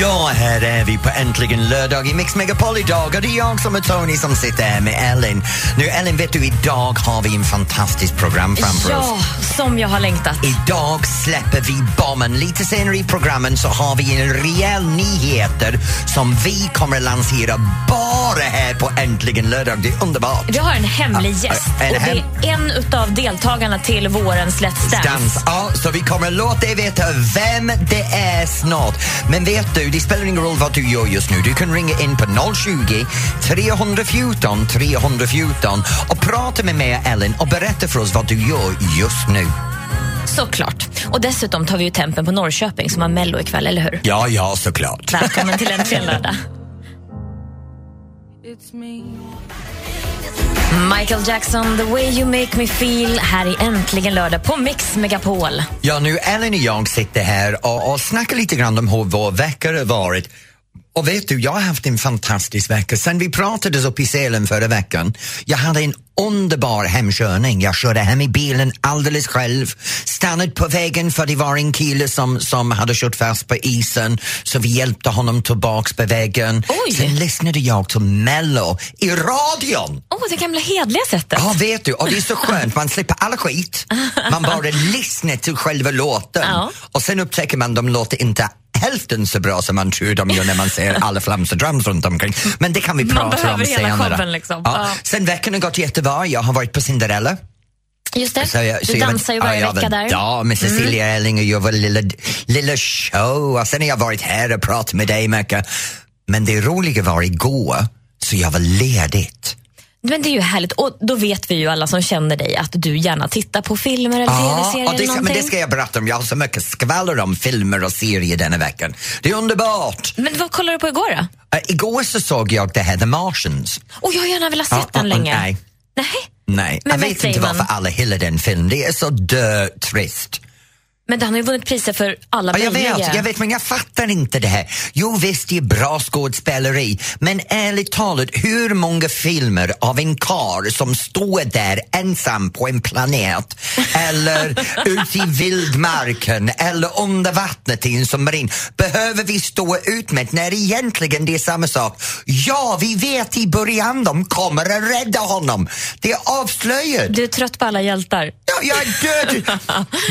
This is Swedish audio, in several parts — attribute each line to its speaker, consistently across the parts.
Speaker 1: Ja, här är vi på Äntligen lördag i Mix Megapol idag och det är jag som är Tony som sitter här med Ellen. Nu Ellen, vet du, idag har vi en fantastiskt program framför
Speaker 2: Ja,
Speaker 1: oss.
Speaker 2: som jag har längtat.
Speaker 1: Idag släpper vi bomben. Lite senare i programmen så har vi en rejäl nyheter som vi kommer att lansera bara här på Äntligen lördag. Det är underbart.
Speaker 2: Vi har en hemlig
Speaker 1: Ja,
Speaker 2: gäst och
Speaker 1: en hem-
Speaker 2: det är en utav deltagarna till vårens Let's Dance.
Speaker 1: Dans. Ja, så vi kommer låta er veta vem det är snart. Men vet du, det spelar ingen roll vad du gör just nu. Du kan ringa in på 020 314 314 och prata med mig och Ellen och berätta för oss vad du gör just nu.
Speaker 2: Såklart. Och dessutom tar vi ju tempen på Norrköping som har Mello ikväll, eller hur?
Speaker 1: Ja, ja, såklart.
Speaker 2: Välkommen till Äntligen lördag. Michael Jackson, The way you make me feel, här i Äntligen lördag på Mix Megapol.
Speaker 1: Ja, nu Ellen och jag sitter här och, och snackar lite grann om hur vår vecka har varit. Och vet du, jag har haft en fantastisk vecka. Sen vi pratades upp i Sälen förra veckan, jag hade en underbar hemkörning. Jag körde hem i bilen alldeles själv, stannade på vägen för det var en kille som, som hade kört fast på isen, så vi hjälpte honom tillbaks på vägen.
Speaker 2: Oj.
Speaker 1: Sen lyssnade jag till Mello i radion.
Speaker 2: Åh, det gamla hedliga sättet.
Speaker 1: Ja, vet du. Och det är så skönt, man slipper all skit. Man bara lyssnar till själva låten.
Speaker 2: Ja.
Speaker 1: Och sen upptäcker man de låter inte hälften så bra som man tror de gör när man ser alla flamsedrams runt omkring. Men det kan vi
Speaker 2: Man
Speaker 1: prata om
Speaker 2: behöver hela
Speaker 1: senare.
Speaker 2: showen liksom.
Speaker 1: ja.
Speaker 2: Ja.
Speaker 1: Sen veckan har gått jättebra. Jag har varit på Cinderella.
Speaker 2: Just det,
Speaker 1: Så jag, så
Speaker 2: du
Speaker 1: jag
Speaker 2: dansar ju
Speaker 1: var-
Speaker 2: varje
Speaker 1: ja, jag
Speaker 2: vecka
Speaker 1: var
Speaker 2: där. Mm.
Speaker 1: Ja, med Cecilia Elling och jag var lilla, lilla show. Och sen har jag varit här och pratat med dig mycket. Men det roliga var igår, så jag var ledigt.
Speaker 2: Men det är ju härligt. Och då vet vi ju alla som känner dig att du gärna tittar på filmer eller tv-serier
Speaker 1: och det,
Speaker 2: eller
Speaker 1: ska,
Speaker 2: någonting.
Speaker 1: men det ska jag berätta om. Jag har så mycket skvaller om filmer och serier denna veckan. Det är underbart!
Speaker 2: Men vad kollade du på igår då?
Speaker 1: Eh, igår så såg jag det här The Martians.
Speaker 2: Och jag har gärna velat
Speaker 1: Ja,
Speaker 2: sett den
Speaker 1: ja, ja,
Speaker 2: länge.
Speaker 1: nej.
Speaker 2: Nej.
Speaker 1: Nej,
Speaker 2: Men
Speaker 1: jag
Speaker 2: vad
Speaker 1: vet
Speaker 2: säger
Speaker 1: inte varför
Speaker 2: man?
Speaker 1: alla hyllar den filmen. Det är så dötrist.
Speaker 2: Men han har ju vunnit priser för alla
Speaker 1: Ja, jag
Speaker 2: möjliga.
Speaker 1: vet, jag vet, men jag fattar inte det här. Jo visst, det är bra skådespeleri, men ärligt talat, hur många filmer av en kar som står där ensam på en planet eller ute i vildmarken eller under vattnet i en submarin behöver vi stå ut med när egentligen det är samma sak? Ja, vi vet i början de kommer att rädda honom. Det är avslöjat.
Speaker 2: Du är trött på alla hjältar.
Speaker 1: Ja, jag är död!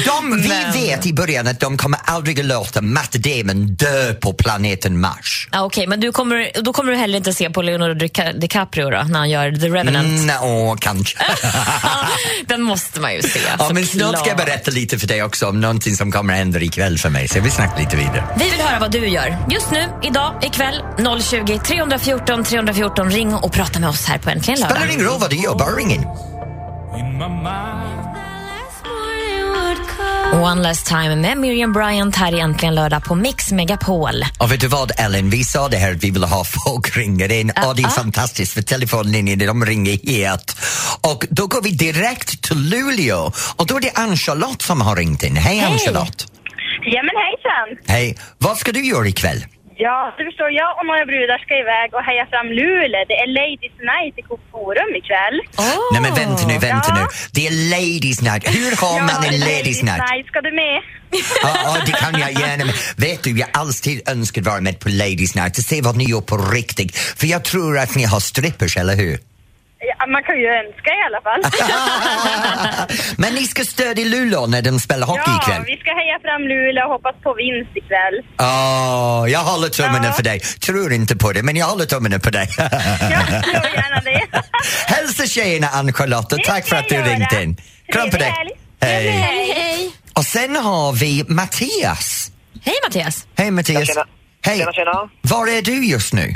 Speaker 1: De, vi
Speaker 2: Men-
Speaker 1: vet i början att de kommer aldrig att låta Matt Damon dö på planeten Mars.
Speaker 2: Ja, Okej, men du kommer, då kommer du heller inte se på Leonardo Dica- DiCaprio då, när han gör The Revenant.
Speaker 1: Nej, Mm, åh, kanske.
Speaker 2: Den måste man ju se.
Speaker 1: ja, men snart ska jag
Speaker 2: såklart.
Speaker 1: berätta lite för dig också om någonting som kommer att hända ikväll för mig, så vi snackar lite vidare.
Speaker 2: Vi vill höra vad du gör. Just nu, idag, ikväll, 020 314 314. Ring och prata med oss här på Äntligen lördag.
Speaker 1: Spelar ingen roll vad du gör, bara ring in.
Speaker 2: One last time med Miriam Bryant här i Äntligen lördag på Mix Megapol.
Speaker 1: Och vet du vad Ellen, vi sa det här att vi vill ha folk ringer in och det är
Speaker 2: Ja.
Speaker 1: fantastiskt för telefonlinjen de ringer het. Och då går vi direkt till Luleå och då är det Ann-Charlotte som har ringt in. Hej Ann-Charlotte!
Speaker 3: Ja men hejsan!
Speaker 1: Hej! Vad ska du göra ikväll?
Speaker 3: Ja, du förstår, jag och några brudar ska iväg och heja fram Luleå. Det är Ladies Night i Coop Forum ikväll.
Speaker 1: Nej men vänta nu, vänta
Speaker 3: Ja.
Speaker 1: nu. Det är ladies night. Hur har man en ladies night?
Speaker 3: Ska du med?
Speaker 1: Ja, ja, det kan jag gärna. Men vet du, jag har alltid önskat vara med på ladies night och se vad ni gör på riktigt. För jag tror att ni har strippers, eller hur?
Speaker 3: Ja, man kan ju önska i alla fall.
Speaker 1: men ni ska stödja Luleå när de spelar hockey
Speaker 3: ja,
Speaker 1: ikväll.
Speaker 3: vi ska heja fram Luleå och hoppas på vinst ikväll.
Speaker 1: Åh, jag håller tummarna
Speaker 3: Ja.
Speaker 1: för dig. Tror inte på det, men jag håller tummarna på dig.
Speaker 3: Ja, gör gärna det.
Speaker 1: Hälsa tjejerna Ann-Charlotte och
Speaker 3: Det
Speaker 1: tack för
Speaker 3: ska
Speaker 1: att du
Speaker 3: jag
Speaker 1: ringt
Speaker 3: göra.
Speaker 1: in. Kram på dig.
Speaker 3: Trevlig helg.
Speaker 1: Hej.
Speaker 3: Hej.
Speaker 1: Och sen har vi Mattias.
Speaker 2: Hej Mattias!
Speaker 1: Hej Mattias!
Speaker 4: Ja, tjena.
Speaker 1: Hej!
Speaker 4: Tjena, tjena.
Speaker 1: Var är du just nu?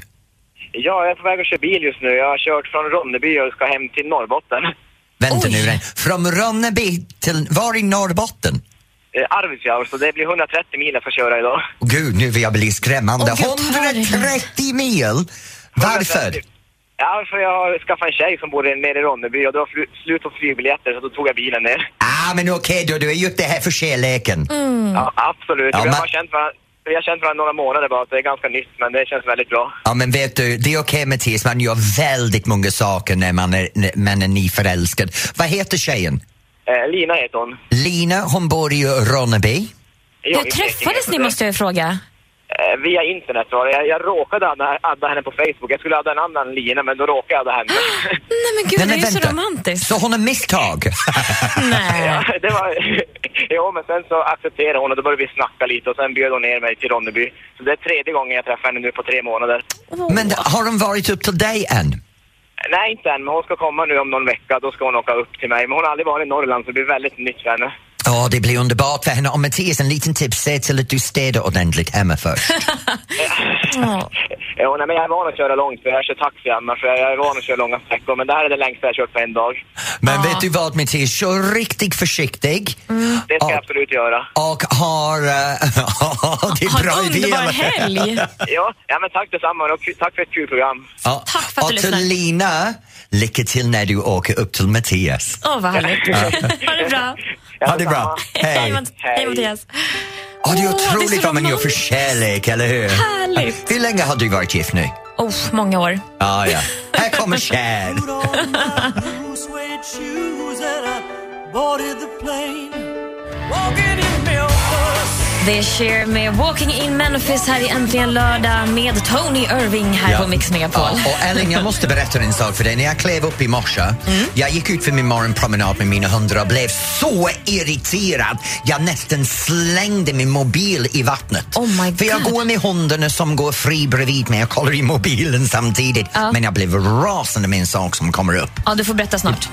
Speaker 4: Ja, jag är på väg att köra bil just nu. Jag har kört från Ronneby och ska hem till Norrbotten.
Speaker 1: Vänta
Speaker 2: Oj.
Speaker 1: nu, från Ronneby till, var i Norrbotten?
Speaker 4: Eh, Arvidsjaur, så det blir 130 mil jag ska köra idag.
Speaker 1: Gud, nu vill jag bli skrämmande.
Speaker 2: Åh, jag tar det.
Speaker 1: 130 mil! Varför?
Speaker 4: 130. Ja, för jag har skaffat en tjej som bor nere i Ronneby och det var flu- slut på flygbiljetter så då tog jag bilen ner.
Speaker 1: Ah, men okej då, du är gjort det här för kärleken.
Speaker 2: Mm.
Speaker 4: Ja, absolut.
Speaker 1: Ja,
Speaker 4: vi
Speaker 1: men-
Speaker 4: har känt varandra. Vi har känt varandra några månader bara, så det är ganska nytt, men det känns väldigt bra.
Speaker 1: Ja, men vet du, det är okej Mattias, man gör väldigt många saker när man är, när man är nyförälskad. Vad heter tjejen?
Speaker 4: Eh, Lina heter hon.
Speaker 1: Lina, hon bor i Ronneby.
Speaker 4: Jag
Speaker 2: Hur
Speaker 4: i Blekinge,
Speaker 2: träffades
Speaker 4: så
Speaker 2: ni
Speaker 4: det-
Speaker 2: måste jag ju fråga.
Speaker 4: Eh, Via internet var det. Jag, jag råkade adda, adda henne på Facebook. Jag skulle adda en annan Lina, men då råkade jag adda henne.
Speaker 2: Nej men gud,
Speaker 1: Nej,
Speaker 2: det
Speaker 1: men
Speaker 2: är ju så
Speaker 1: vänta.
Speaker 2: romantiskt.
Speaker 1: Så hon är misstag?
Speaker 2: Nej.
Speaker 4: Ja, det var... jo, men sen så accepterade hon och då började vi snacka lite och sen bjöd hon ner mig till Ronneby. Så det är tredje gången jag träffar henne nu på tre månader.
Speaker 2: Åh.
Speaker 1: Men har hon varit upp till dig än?
Speaker 4: Nej, inte än, men hon ska komma nu om någon vecka. Då ska hon åka upp till mig. Men hon har aldrig varit i Norrland, så det blir väldigt nytt för henne.
Speaker 1: Ja, det blir underbart för henne. Om Mattias, en liten tips, se till att du städar ordentligt hemma först.
Speaker 2: Ja.
Speaker 4: Jo, nej, men jag är van att köra långt, för jag kör taxi annars. Jag jag är van att köra långa sträckor, men det här är det längsta jag kört på en dag.
Speaker 1: Men
Speaker 2: Ja. Mm.
Speaker 1: vet du vad Mattias, kör riktigt försiktig.
Speaker 4: Det ska jag
Speaker 1: Ja.
Speaker 4: absolut göra.
Speaker 1: Och har... Uh, det
Speaker 2: Ha
Speaker 1: är
Speaker 2: en
Speaker 1: bra idé.
Speaker 2: underbar helg.
Speaker 4: Ja, ja men tack detsamma och ku- tack för ett kul program.
Speaker 1: Ja.
Speaker 2: Tack för att
Speaker 1: och
Speaker 2: du
Speaker 1: till
Speaker 2: lyssnar.
Speaker 1: Lina, lycka till när du åker upp till Mattias.
Speaker 2: Åh, vad härligt. Ha det bra.
Speaker 1: Ha
Speaker 4: Ja,
Speaker 1: det
Speaker 4: detsamma.
Speaker 1: bra. Hej.
Speaker 2: Matt- Hej,
Speaker 4: Hej.
Speaker 2: Mattias.
Speaker 1: Ja, det är
Speaker 2: Åh, det är så
Speaker 1: otroligt vad man gör för
Speaker 2: romantiskt.
Speaker 1: kärlek, eller hur?
Speaker 2: Härligt.
Speaker 1: Hur länge har du varit gift nu?
Speaker 2: Oh, många år.
Speaker 1: Ja, ja. Här kommer Cher.
Speaker 2: Det är Cher med Walking in Memphis här i Äntligen lördag med Tony Irving här på Mix Megapol.
Speaker 1: Ja, och Ellen, jag måste berätta en sak för dig. När jag klev upp i morse,
Speaker 2: Mm.
Speaker 1: jag gick ut för min morgonpromenad med mina hundar och blev så irriterad. Jag nästan slängde min mobil i vattnet.
Speaker 2: Oh my
Speaker 1: för jag
Speaker 2: God.
Speaker 1: går med hundarna som går fri bredvid mig och kollar i mobilen samtidigt.
Speaker 2: Ja.
Speaker 1: Men jag blev rasande med en sak som kommer upp.
Speaker 2: Ja, du får berätta snart.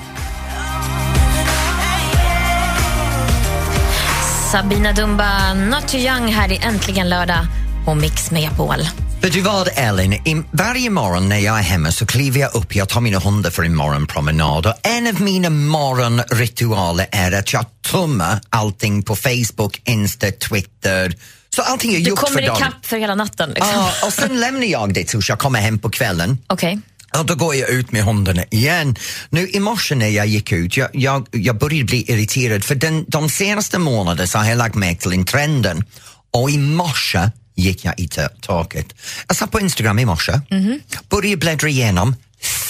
Speaker 2: Sabina Dumba, Not Too Young här i Äntligen lördag och Mix Megapol.
Speaker 1: Vet du vad Ellen, I, varje morgon när jag är hemma så kliver jag upp, jag tar mina hundar för en morgonpromenad och en av mina morgonritualer är att jag tummar allting på Facebook, Insta, Twitter. Så allting är
Speaker 2: Du
Speaker 1: gjort
Speaker 2: kommer
Speaker 1: för dagen.
Speaker 2: ikapp för hela natten. Liksom.
Speaker 1: Ja, och sen lämnar jag det tills jag kommer hem på kvällen.
Speaker 2: Okej.
Speaker 1: Ja, då går jag ut med hundarna igen. Nu i morse när jag gick ut, jag, jag, jag började bli irriterad för den, de senaste månaderna så har jag lagt märke till en trenden och i morse gick jag i ta- taket. Jag satt på Instagram i morse, började bläddra igenom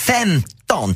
Speaker 1: 15, 15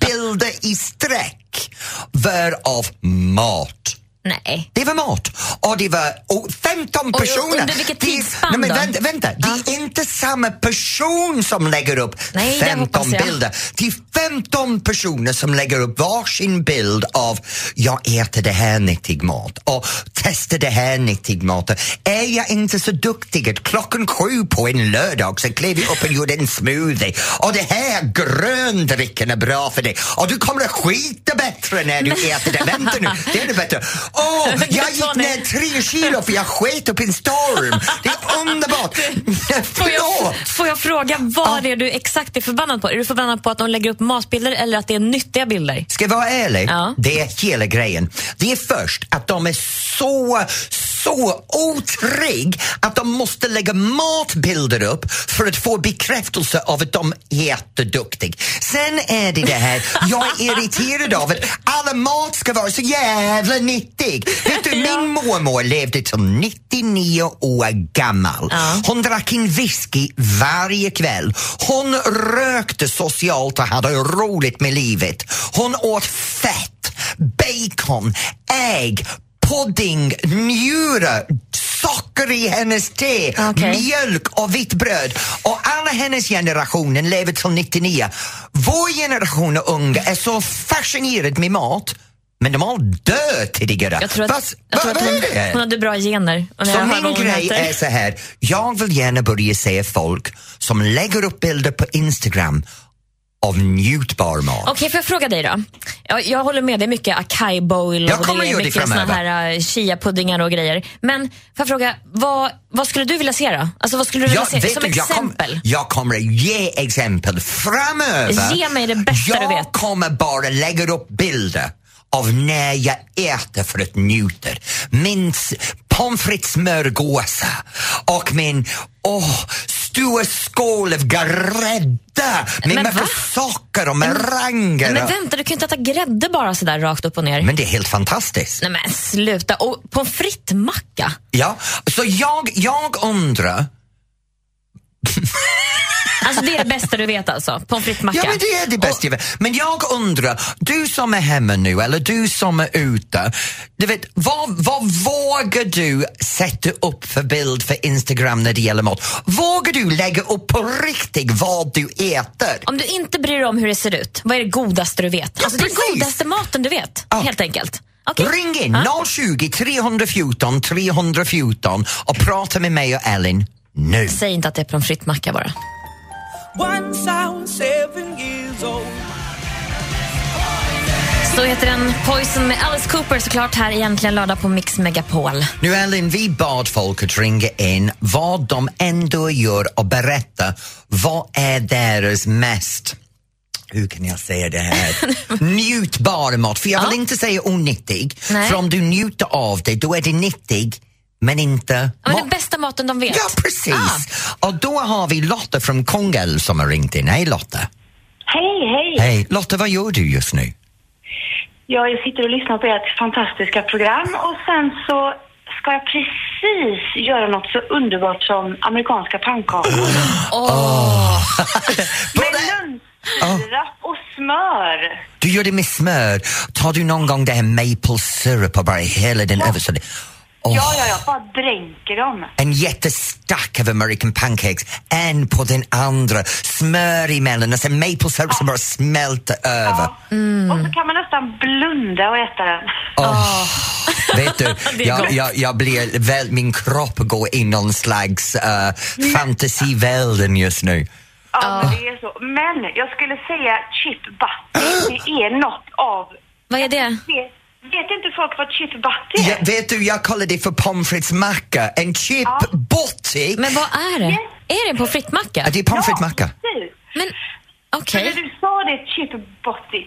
Speaker 1: bilder i sträck varav mat.
Speaker 2: Nej.
Speaker 1: Det var mat. Och det var och 15
Speaker 2: Och
Speaker 1: personer.
Speaker 2: under vilket
Speaker 1: Det är-
Speaker 2: tidsspann
Speaker 1: Nej, men
Speaker 2: då?
Speaker 1: vänta, vänta. Det är inte samma person som lägger upp
Speaker 2: Nej, det hoppas
Speaker 1: 15
Speaker 2: jag.
Speaker 1: bilder. Det är 15 personer som lägger upp varsin bild av jag äter det här nyttig mat och testar det här nyttig mat. Är jag inte så duktig att klockan sju på en lördag så klev jag upp och gjorde en smoothie och det här gröndrickan är bra för dig och du kommer att skita bättre när du äter det. Vänta nu, det är det bättre. Åh, jag gick ner tre kilo för jag sket upp en storm. Det är underbart.
Speaker 2: Får jag,
Speaker 1: Förlåt!
Speaker 2: får jag fråga vad det är du exakt är förbannad på? Är du förbannad på att de lägger upp matbilder eller att det är nyttiga bilder?
Speaker 1: Ska jag vara ärlig?
Speaker 2: Ja.
Speaker 1: Det är hela grejen. Det är först att de är så, så otrygg att de måste lägga matbilder upp för att få bekräftelse av att de är jätteduktig. Sen är det det här, jag är irriterad av att alla mat ska vara så jävla nyttig. Vet du, min mormor levde till 99 år gammal.
Speaker 2: Ja.
Speaker 1: Hon drack en whisky varje kväll. Hon rökte socialt och hade roligt med livet. Hon åt fett, bacon, ägg, pudding, njure, socker i hennes te,
Speaker 2: Okej.
Speaker 1: mjölk och vitt bröd. Och alla hennes generationer lever till 99. Vår generation och unga är så fascinerad med mat men de har dött tidigare.
Speaker 2: Jag tror att,
Speaker 1: Vad-
Speaker 2: jag tror
Speaker 1: vad-
Speaker 2: att
Speaker 1: vad är
Speaker 2: hon,
Speaker 1: det?
Speaker 2: hon hade bra gener. Och när jag
Speaker 1: Så
Speaker 2: hör vad
Speaker 1: min
Speaker 2: hon
Speaker 1: grej
Speaker 2: äter-
Speaker 1: är så här, jag vill gärna börja se folk som lägger upp bilder på Instagram av njutbar mat.
Speaker 2: Okej, får jag fråga dig då? Jag, jag håller med, det är mycket acai bowl
Speaker 1: Jag
Speaker 2: och
Speaker 1: kommer
Speaker 2: det är
Speaker 1: göra det
Speaker 2: mycket såna
Speaker 1: framöver.
Speaker 2: här uh, chia-puddingar och grejer. Men får jag fråga, vad, vad skulle du vilja se då? Alltså vad skulle du vilja
Speaker 1: Jag,
Speaker 2: se
Speaker 1: vet
Speaker 2: som
Speaker 1: du, jag, kom,
Speaker 2: exempel?
Speaker 1: jag kommer att ge exempel framöver.
Speaker 2: Ge mig det bästa
Speaker 1: jag
Speaker 2: du vet.
Speaker 1: kommer bara lägga upp bilder av när jag äter för att njuta. Min s- pommes frites smörgåsa och min åh, stora skål av grädde med
Speaker 2: Men
Speaker 1: mycket
Speaker 2: va?
Speaker 1: socker och meranger.
Speaker 2: Men
Speaker 1: och-
Speaker 2: vänta, du kan ju inte äta grädde bara sådär rakt upp och ner.
Speaker 1: Men det är helt fantastiskt.
Speaker 2: Nej men sluta, och pommes frites-macka?
Speaker 1: Ja, så jag, jag undrar
Speaker 2: Alltså det är det bästa du vet alltså? Pommes frites-macka?
Speaker 1: Ja, men det är det bästa jag vet. Men jag undrar, du som är hemma nu eller du som är ute, du vet, vad, vad vågar du sätta upp för bild för Instagram när det gäller mat? Vågar du lägga upp på riktigt vad du äter?
Speaker 2: Om du inte bryr dig om hur det ser ut, vad är det godaste du vet? alltså det
Speaker 1: precis.
Speaker 2: är godaste maten du vet, helt enkelt. Okej.
Speaker 1: Ring in
Speaker 2: Ja.
Speaker 1: 020 314 314 och prata med mig och Ellen nu.
Speaker 2: Säg inte att det är pommes frites-macka bara.
Speaker 5: Once I was seven years old.
Speaker 2: Så heter den Poison med Alice Cooper såklart här egentligen lördag på Mix Megapol.
Speaker 1: Nu Ellen, vi bad folket ringa in vad de ändå gör och berätta vad är deras mest hur kan jag säga det här? Njutbara mat, för jag vill inte säga onyttig.
Speaker 2: Nej.
Speaker 1: För om du njuter av det, då är det nyttig, men inte
Speaker 2: Ja, men
Speaker 1: mat.
Speaker 2: den bästa Ah. maten de vet.
Speaker 1: Ja, precis! Och då har vi Lotta från Kungälv som har ringt in. Hej Lotta!
Speaker 6: Hej, hej!
Speaker 1: Hej! Lotta, vad gör du just nu?
Speaker 6: Ja, jag sitter och lyssnar på ert fantastiska program och sen så ska jag precis göra något så underbart som amerikanska pannkakor med lönnsirap och smör.
Speaker 1: Du gör det med smör. Tar du någon gång det här maple syrup och bara hela den över så det... Åh,
Speaker 6: Ja, ja, ja, bara dränker dem.
Speaker 1: En jättestack av American pancakes, en på den andra, smör emellan och sen maple syrup som bara smälter över.
Speaker 6: Och så kan man nästan blunda och äta den.
Speaker 1: Vet du,
Speaker 2: är gott.
Speaker 1: jag, jag, jag blir väl, min kropp går in någon slags eh, fantasivälden just nu.
Speaker 6: Ja, men det är så. Men jag skulle säga chip butter, det är något av...
Speaker 2: Vad är det?
Speaker 6: Vet, vet inte folk vad chip butter är?
Speaker 1: Ja, vet du, jag kallar det för pommes frites-macka, en chip
Speaker 6: Ja.
Speaker 1: butty.
Speaker 2: Men vad är det? Är det en pommes frites-macka?
Speaker 1: Ja, det är pommes frites-macka.
Speaker 6: Precis.
Speaker 2: Men okej.
Speaker 6: När du sa det, chipbotti,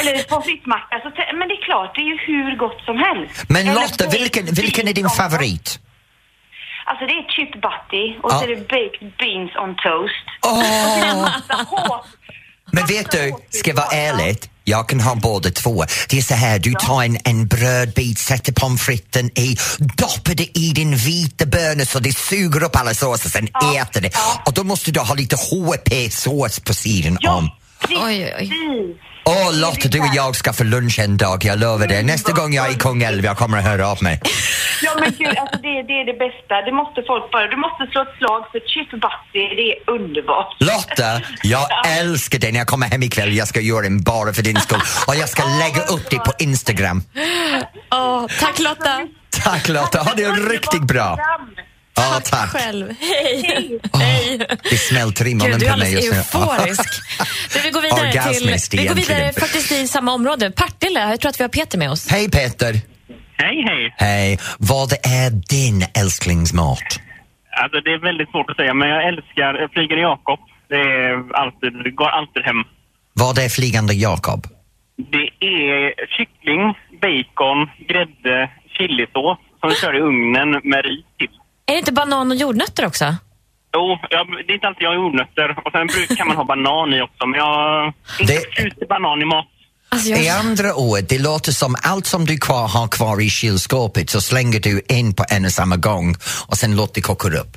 Speaker 6: eller pommes frites-macka, så tä- men det är klart, det är ju hur gott som helst.
Speaker 1: Men
Speaker 6: Eller
Speaker 1: Lotta,
Speaker 6: baked
Speaker 1: vilken, vilken är din
Speaker 6: beans on-
Speaker 1: favorit?
Speaker 6: Alltså det är chipbotti och
Speaker 1: Ja.
Speaker 6: så är det baked beans on toast.
Speaker 1: Åh!
Speaker 6: Hå-
Speaker 1: Men vet du, ska jag vara ärlig, jag kan ha båda två. Det är så här, du tar en, en brödbit, sätter pommes fritesen i, doppar det i din vita bönor så det suger upp alla såser, sen äter det. Och då måste du ha lite HP-sås på sidan
Speaker 6: Ja,
Speaker 1: om.
Speaker 6: precis.
Speaker 2: Oj, oj, oj.
Speaker 1: Åh Lotta, du och jag ska få lunch en dag, jag lovar det. Nästa gång jag är i Kungälv, jag kommer att höra av mig.
Speaker 6: Ja men gud, alltså det, det är det bästa. Det måste folk bara, du måste slå ett slag för chipbotti, det är underbart.
Speaker 1: Lotta, jag älskar dig. När jag kommer hem ikväll, jag ska göra en bara för din skull. Och jag ska lägga upp det på Instagram.
Speaker 2: Åh, tack Lotta.
Speaker 1: Tack Lotta, ha det riktigt bra. Ja, tack.
Speaker 2: Själv. Hej.
Speaker 1: Det smälter i munnen
Speaker 2: Gud, du är
Speaker 1: på mig
Speaker 2: alldeles
Speaker 1: just nu.
Speaker 2: euforisk. Du, vi går vidare,
Speaker 1: Orgasmiskt
Speaker 2: till, vi går vidare
Speaker 1: egentligen.
Speaker 2: faktiskt i samma område. Partille, jag tror att vi har Peter med oss.
Speaker 1: Hej Peter!
Speaker 7: Hej, hej.
Speaker 1: Hej, vad är din älsklingsmat?
Speaker 7: Alltså, det är väldigt svårt att säga, men jag älskar eh, Flygande Jakob. Det, är alltid, det går alltid hem.
Speaker 1: Vad är flygande Jakob?
Speaker 7: Det är kyckling, bacon, grädde, chilisås som vi kör i ugnen med ris till.
Speaker 2: Är det inte banan och jordnötter också?
Speaker 7: Jo, jag, det är inte alltid jag har jordnötter. Och sen brukar kan man ha banan i också, men jag inte
Speaker 1: Det-
Speaker 7: förtjust i banan i mat.
Speaker 2: Alltså,
Speaker 1: I
Speaker 2: jag...
Speaker 1: andra ord, det låter som allt som du kvar, har kvar i kylskåpet så slänger du in på en och samma gång och sen låter det koka upp.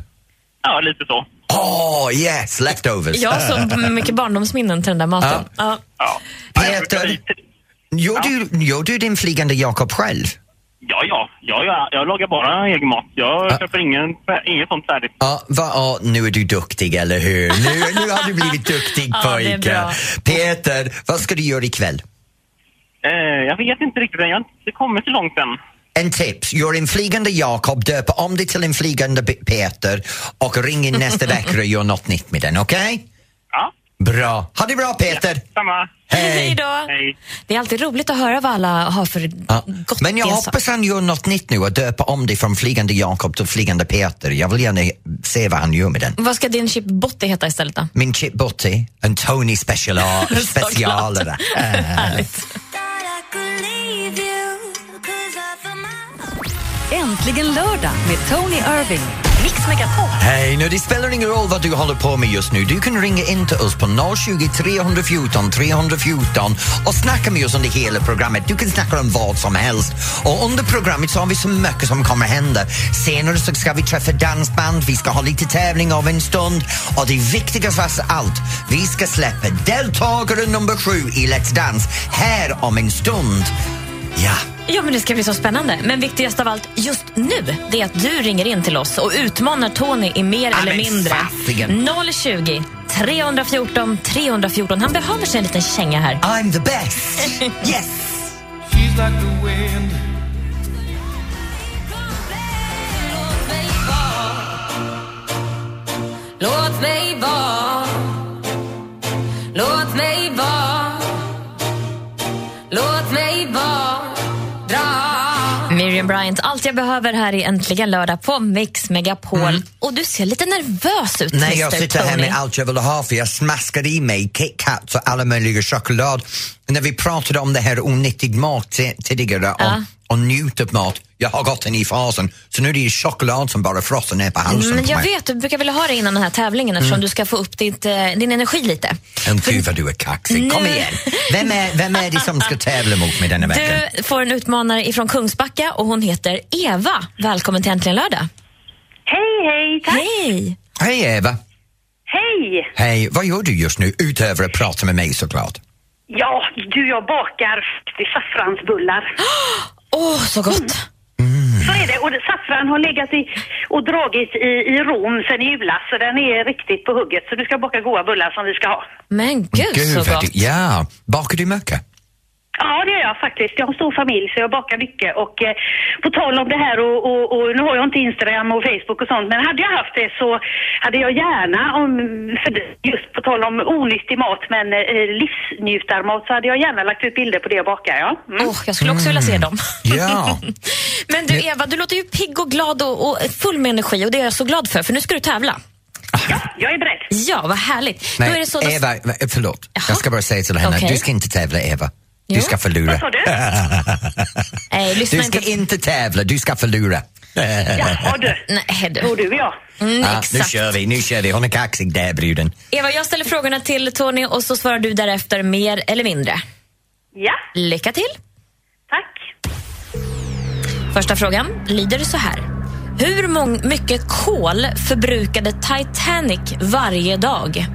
Speaker 7: Ja, lite så.
Speaker 1: Åh, oh, yes, leftovers!
Speaker 2: Jag har så mycket barndomsminnen till den där maten. Ja.
Speaker 7: Ja.
Speaker 1: Peter.
Speaker 7: Jag brukar-
Speaker 1: Gör, du, gör du din flygande Jakob själv?
Speaker 7: Ja, ja. ja, ja jag lagar bara egen mat. Jag
Speaker 1: Ja.
Speaker 7: köper ingen, inget sånt färdigt.
Speaker 1: Ja, va, ja, nu är du duktig, eller hur? Nu, nu har du blivit duktig
Speaker 2: Ja, det är
Speaker 1: pojke.
Speaker 2: bra.
Speaker 1: Peter, vad ska du göra ikväll?
Speaker 7: Eh, jag vet inte riktigt än. Jag har inte kommit så långt än.
Speaker 1: En tips, gör en flygande Jakob, döp om dig till en flygande Pe- Peter och ring in nästa vecka och gör något nytt med den, okej?
Speaker 7: Ja,
Speaker 1: Bra. Ha det bra Peter!
Speaker 7: samma.
Speaker 2: Hej då.
Speaker 7: Hej.
Speaker 2: Det är alltid roligt att höra vad alla har för
Speaker 1: Ja.
Speaker 2: gott
Speaker 1: Men jag
Speaker 2: i en sak.
Speaker 1: hoppas han gör något nytt nu och döper om dig från flygande Jakob till flygande Peter. Jag vill gärna se vad han gör med den.
Speaker 2: Vad ska din chip botti heta istället då?
Speaker 1: Min chip Butty, en Tony special, specialare.
Speaker 8: Äntligen lördag med Tony Irving. Mix Megapol.
Speaker 1: Hej, nu det spelar ingen roll vad du håller på med just nu. Du kan ringa in till oss på 020 314 314 och snacka med oss under hela programmet. Du kan snacka om vad som helst. Och under programmet så har vi så mycket som kommer hända. Senare så ska vi träffa dansband, vi ska ha lite tävling av en stund och det viktigaste av allt, vi ska släppa deltagare nummer sju i Let's Dance här om en stund. Ja.
Speaker 2: Ja, men det ska bli så spännande. Men viktigast av allt just nu det är att du ringer in till oss och utmanar Tony i mer eller
Speaker 1: men
Speaker 2: mindre.
Speaker 1: fasiken.
Speaker 2: 020 314 314. Han behöver sig en liten känga här.
Speaker 1: I'm the best! Yes!
Speaker 5: She's like the wind.
Speaker 9: Låt mig vara Låt mig vara Låt mig vara Dra
Speaker 2: Miriam Bryant, allt jag behöver här är äntligen lördag på Mix Megapol. Och du ser lite nervös ut,
Speaker 1: Mm. Nej, jag
Speaker 2: Mr.
Speaker 1: sitter här
Speaker 2: Tony.
Speaker 1: med allt jag vill ha för jag smaskade i mig KitKat och alla möjliga choklad. När vi pratade om det här onyttig mat ti- tidigare
Speaker 2: Ja.
Speaker 1: och, och njut av mat, jag har gått in i fasen. Så nu är det ju choklad som Mm. bara frossar ner på halsen
Speaker 2: Men
Speaker 1: på
Speaker 2: Mm, jag
Speaker 1: mig.
Speaker 2: vet, du brukar vilja ha det innan den här tävlingen eftersom du ska få upp ditt, eh, din energi lite.
Speaker 1: Men Gud vad du är kaxig, kom
Speaker 2: Nu-
Speaker 1: igen. Vem är, vem är det som ska tävla mot mig denna veckan?
Speaker 2: Du får en utmanare ifrån Kungsbacka och hon heter Eva. Välkommen till Äntligen lördag.
Speaker 3: Hej, hej, tack.
Speaker 2: Hej!
Speaker 1: Hej Eva,
Speaker 3: Hej!
Speaker 1: hej, vad gör du just nu utöver att prata med mig såklart?
Speaker 6: Ja, du, jag bakar saffransbullar.
Speaker 2: Åh, så gott!
Speaker 6: Så är det. Och det- saffran har legat i, och dragit i, i Rom sen i julas, så den är riktigt på hugget. Så du ska baka goda bullar som vi ska ha.
Speaker 2: Men gud,
Speaker 1: vad
Speaker 2: så gott!
Speaker 1: du- Ja, bakar du mycket?
Speaker 6: Ja, det gör jag faktiskt. Jag har stor familj så jag bakar mycket. Och eh, på tal om det här, och, och, och nu har jag inte Instagram och Facebook och sånt, men hade jag haft det så hade jag gärna, om, för det- just på tal om onyttig mat, men eh, livsnjutarmat, så hade jag gärna lagt ut bilder på det jag bakar. Ja. Mm.
Speaker 2: Åh, jag skulle också vilja se dem.
Speaker 1: Ja.
Speaker 2: Men du Eva, du låter ju pigg och glad och, och full med energi och det är jag så glad för, för nu ska du tävla.
Speaker 6: ja, jag är beredd.
Speaker 2: Ja, vad härligt. Då är
Speaker 1: Nej,
Speaker 2: det så, då-
Speaker 1: Eva, förlåt. Jag ska bara säga till henne,
Speaker 2: Okej.
Speaker 1: du ska inte tävla Eva. Du
Speaker 2: Jo.
Speaker 1: ska förlora.
Speaker 6: Vad sa du?
Speaker 2: Nej, lyssna
Speaker 1: Du ska
Speaker 2: inte.
Speaker 1: inte tävla, du ska förlora.
Speaker 6: Jaha du.
Speaker 2: Nej,
Speaker 6: Jo,
Speaker 2: du.
Speaker 6: du och jag.
Speaker 2: Mm,
Speaker 1: Ja, Ah, nu
Speaker 2: exakt.
Speaker 1: kör vi, nu kör vi. Hon är kaxig där bruden.
Speaker 2: Eva, jag ställer frågorna till Tony och så svarar du därefter mer eller mindre.
Speaker 6: Ja,
Speaker 2: Lycka till!
Speaker 6: tack.
Speaker 2: Första frågan lyder så här. Hur mång- mycket kol förbrukade Titanic varje dag?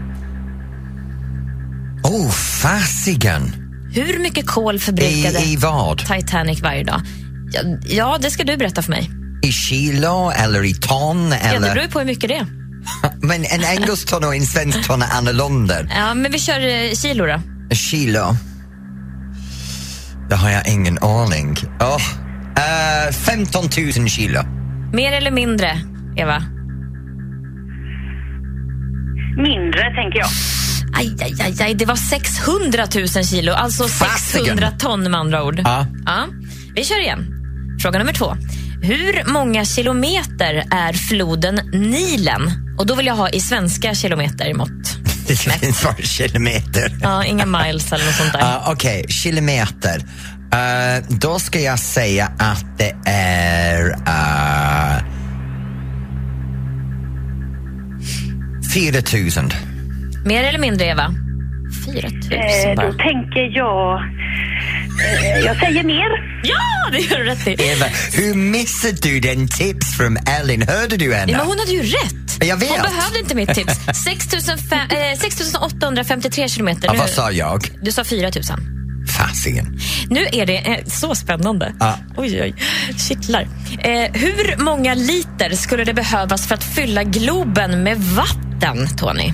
Speaker 1: Oh, fasiken!
Speaker 2: Hur mycket kol
Speaker 1: I,
Speaker 2: förbrukade
Speaker 1: I vad?
Speaker 2: Titanic varje dag? Ja, ja, det ska du berätta för mig.
Speaker 1: I kilo eller i ton?
Speaker 2: Ja, det
Speaker 1: Eller?
Speaker 2: beror ju på hur mycket det är.
Speaker 1: Men en engelsk ton och en svensk ton är annorlunda.
Speaker 2: Ja, men vi kör eh, kilo då.
Speaker 1: Kilo? Det har jag ingen aning. Oh, eh, 15 000 kilo.
Speaker 2: Mer eller mindre, Eva?
Speaker 6: Mindre tänker jag.
Speaker 2: Aj, aj, aj, aj, det var 600 000 kilo, alltså
Speaker 1: Fasiken.
Speaker 2: 600 ton med andra ord.
Speaker 1: Ja.
Speaker 2: Ja, vi kör igen. Fråga nummer två. Hur många kilometer är floden Nilen? Och då vill jag ha i svenska kilometer i mått.
Speaker 1: Det finns bara kilometer.
Speaker 2: Ja, inga miles eller något sånt där.
Speaker 1: Uh, Okej, kilometer. Eh, då ska jag säga att det är uh, 4000.
Speaker 2: Mer eller mindre, Eva? 4
Speaker 6: Eh,
Speaker 2: 000
Speaker 6: då
Speaker 2: bara.
Speaker 6: tänker jag... Eh, jag säger mer.
Speaker 2: Ja, det gör du rätt i.
Speaker 1: Eva, hur missade du den tips från Ellen? Hörde du henne?
Speaker 2: Ja, men hon hade ju rätt.
Speaker 1: Jag vet.
Speaker 2: Hon behövde inte mitt tips. 6 500 eh, 6 853 kilometer.
Speaker 1: Ja,
Speaker 2: Nu-
Speaker 1: vad sa jag?
Speaker 2: Du sa 4 000.
Speaker 1: Fasiken.
Speaker 2: Nu är det eh, så spännande.
Speaker 1: Ja.
Speaker 2: Oj, oj. Kittlar. Eh, hur många liter skulle det behövas för att fylla Globen med vatten, Tony?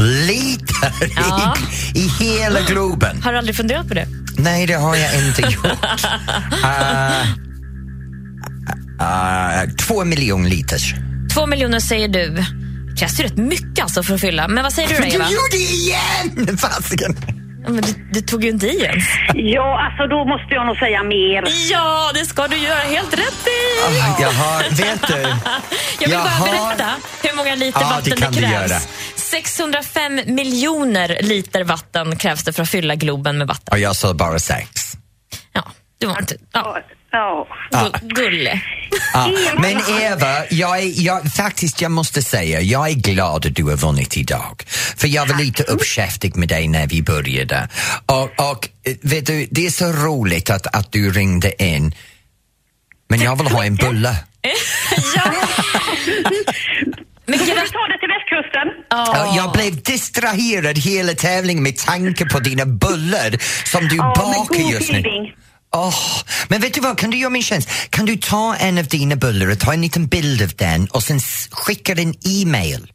Speaker 1: Liter
Speaker 2: Ja.
Speaker 1: i, i hela Globen.
Speaker 2: Har du aldrig funderat på det?
Speaker 1: Nej, det har jag inte gjort. Eh, eh, två miljoner liter.
Speaker 2: Två miljoner säger du. Det krävs ju rätt mycket alltså för att fylla. Men vad säger du då,
Speaker 1: Men du
Speaker 2: Eva?
Speaker 1: gjorde det igen! Fasiken.
Speaker 2: Ja, Men du, du tog ju inte i ens.
Speaker 6: Ja, alltså då måste jag nog säga mer.
Speaker 2: Ja, det ska du göra helt rätt i!
Speaker 1: Jag har, vet du?
Speaker 2: Jag vill
Speaker 1: jag
Speaker 2: bara
Speaker 1: har-
Speaker 2: berätta hur många liter
Speaker 1: Ja, det
Speaker 2: vatten
Speaker 1: kan
Speaker 2: det
Speaker 1: du
Speaker 2: krävs.
Speaker 1: göra.
Speaker 2: 605 miljoner liter vatten krävs det för att fylla Globen med vatten.
Speaker 1: Och jag sa bara sex.
Speaker 2: Ja, det var inte... Ja.
Speaker 6: Ja.
Speaker 2: Gu- Gullig.
Speaker 1: Ja. Men Eva, jag är, jag, faktiskt jag måste säga, jag är glad att du har vunnit idag. För jag var lite uppkäftig med dig när vi började. Och, och eh, vet du, det är så roligt att, att du ringde in. Men jag vill ha en bulle.
Speaker 2: Men
Speaker 6: Då får
Speaker 2: gra-
Speaker 6: du ta det till västkusten.
Speaker 1: Ja, Jag blev distraherad hela tävlingen med tanke på dina bullar som du
Speaker 6: Ja, men
Speaker 1: bakar
Speaker 6: god
Speaker 1: just nu.
Speaker 6: feeling.
Speaker 1: Åh, men vet du vad, kan du göra min tjänst? Kan du ta en av dina bullar och ta en liten bild av den och sen s- skicka en e-mail?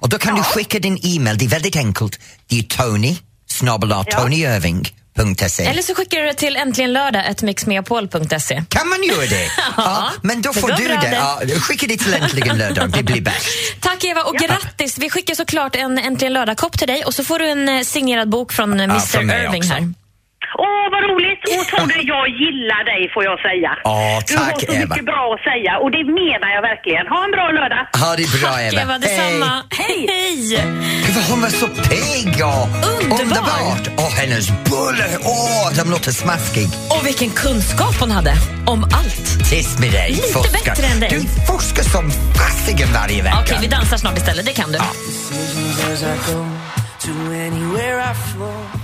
Speaker 1: Och då kan du skicka din e-mail, det är väldigt enkelt. Det är Tony, snabel
Speaker 6: Ja.
Speaker 2: Eller
Speaker 1: tonyirving.se.
Speaker 2: så skickar du det till äntligen lördag mixmeapol.se.
Speaker 1: Kan man göra det? ja, men då
Speaker 2: det
Speaker 1: får
Speaker 2: går
Speaker 1: du
Speaker 2: bra
Speaker 1: det.
Speaker 2: det.
Speaker 1: Ja, skicka det till äntligen lördag, det blir bäst.
Speaker 2: Tack Eva och grattis! Vi skickar såklart en Äntligen lördag-kopp till dig och så får du en eh, signerad bok från eh, Mr
Speaker 1: från mig
Speaker 2: Irving
Speaker 1: också.
Speaker 2: här.
Speaker 6: Åh, vad roligt! Och Tony, jag gillar dig får jag säga.
Speaker 1: Åh,
Speaker 6: du har
Speaker 1: tack,
Speaker 6: så
Speaker 1: Eva.
Speaker 6: mycket bra att säga och det menar jag verkligen. Ha en bra lördag!
Speaker 1: Ha det bra
Speaker 2: Tack
Speaker 1: Eva.
Speaker 2: Eva, detsamma! Hej!
Speaker 1: Gud, vad hon var så pigg och
Speaker 2: Underbar.
Speaker 1: underbart. Och hennes bullar, åh, de låter smaskig.
Speaker 2: Och vilken kunskap hon hade om allt!
Speaker 1: Tyst med dig,
Speaker 2: Lite bättre än dig.
Speaker 1: Du forskar som fasiken varje vecka.
Speaker 2: Okej, vi dansar snart istället, det kan du.
Speaker 5: Decisions as I go to anywhere I flow.